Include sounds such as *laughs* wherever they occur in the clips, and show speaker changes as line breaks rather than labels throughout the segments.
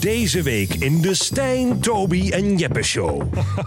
Deze week in de Stijn, Toby en Jeppe Show.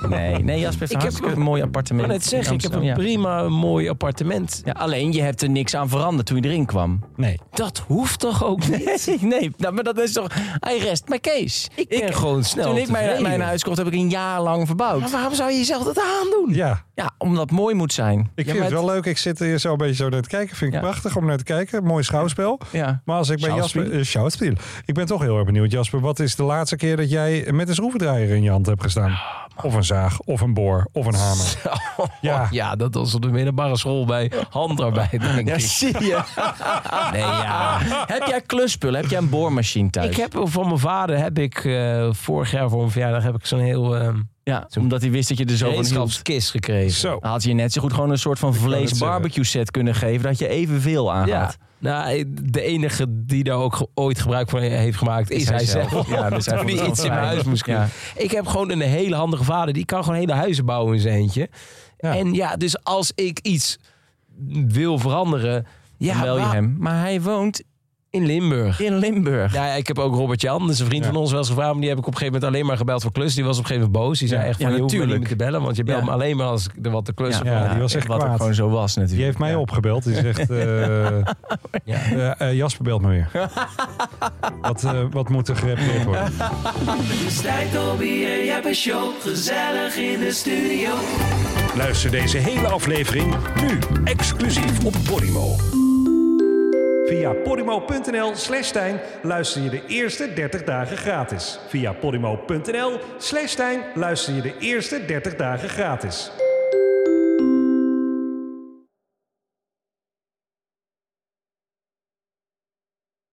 Nee,
*laughs*
nee Jasper heeft
Ik
een
heb
hartstikke
een-
mooi
Ik
appartement.
kan het zeggen,
in
ik heb een
Amsterdam, ja.
prima mooi appartement.
Ja, alleen je hebt er niks aan veranderd toen je erin kwam.
Nee. Dat hoeft toch ook niet?
*laughs* Nee, nee nou, maar dat is toch. Hij rest mijn Kees.
Ik ben gewoon snel
Toen ik mijn,
tevreden.
mijn huis kocht, heb ik een jaar lang verbouwd.
Maar waarom zou je jezelf dat aandoen?
Ja,
Ja, omdat het mooi moet zijn.
ik
ja,
vind
maar
het wel leuk. Ik zit hier zo een beetje zo naar te kijken. Vind ik
Ja.
prachtig om naar te kijken. Mooi schouwspel.
Ja.
Maar als ik bij
Schouwspel.
Jasper... eh, schouwspel. Ik ben toch heel erg benieuwd, Jasper. Wat is de laatste keer dat jij met een schroevendraaier in je hand hebt gestaan?
Ah,
of een zaag, of een boor, of een hamer.
*laughs*
Ja.
Ja, dat was op de middelbare school bij handarbeid, denk
Ja,
ik.
zie je. *laughs* Nee, ja. Heb jij kluspullen? Heb jij een boormachine thuis?
Ik heb van mijn vader, heb ik eh, vorig jaar voor mijn verjaardag, heb ik zo'n heel ehm
Ja, omdat hij wist dat je er zo van hield.
gereedschapskist gekregen.
Zo.
Dan Had je net zo goed gewoon een soort van vlees
zeggen.
barbecue set kunnen geven. Dat je evenveel aan
Ja.
had.
Nou, de enige die daar ook ge- ooit gebruik van heeft gemaakt, is, hij zelf. *laughs*
Ja, dus hij
Toen
vond het
hij
wel
iets in
fijn.
mijn huis moest kunnen.
Ja.
Ik heb gewoon een hele handige vader. Die kan gewoon hele huizen bouwen in zijn eentje. En ja, dus als ik iets wil veranderen,
Ja,
dan bel je
maar-
hem.
Maar hij woont
In Limburg.
in Limburg.
Ja, ik heb ook Robert Jan, dat is een vriend van ons, wel eens gevraagd. Maar die heb ik op een gegeven moment alleen maar gebeld voor klus. Die was op een gegeven moment boos. Die zei echt van,
Ja,
je hoeft me niet
natuurlijk.
meer te bellen. Want je belt
Ja.
me alleen maar als ik er wat te klussen
Ja, die was echt
wat ook
kwaad.
gewoon zo was natuurlijk.
Die heeft mij
Ja.
opgebeld. Die
*laughs*
zegt, eh, eh, eh, Jasper belt me
*laughs*
weer. wat, eh, wat moet er gerepareerd worden?
Luister deze hele aflevering nu exclusief op Podimo. Via podimo.nl slash Stijn luister je de eerste 30 dagen gratis. Via podimo.nl slash Stijn luister je de eerste 30 dagen gratis.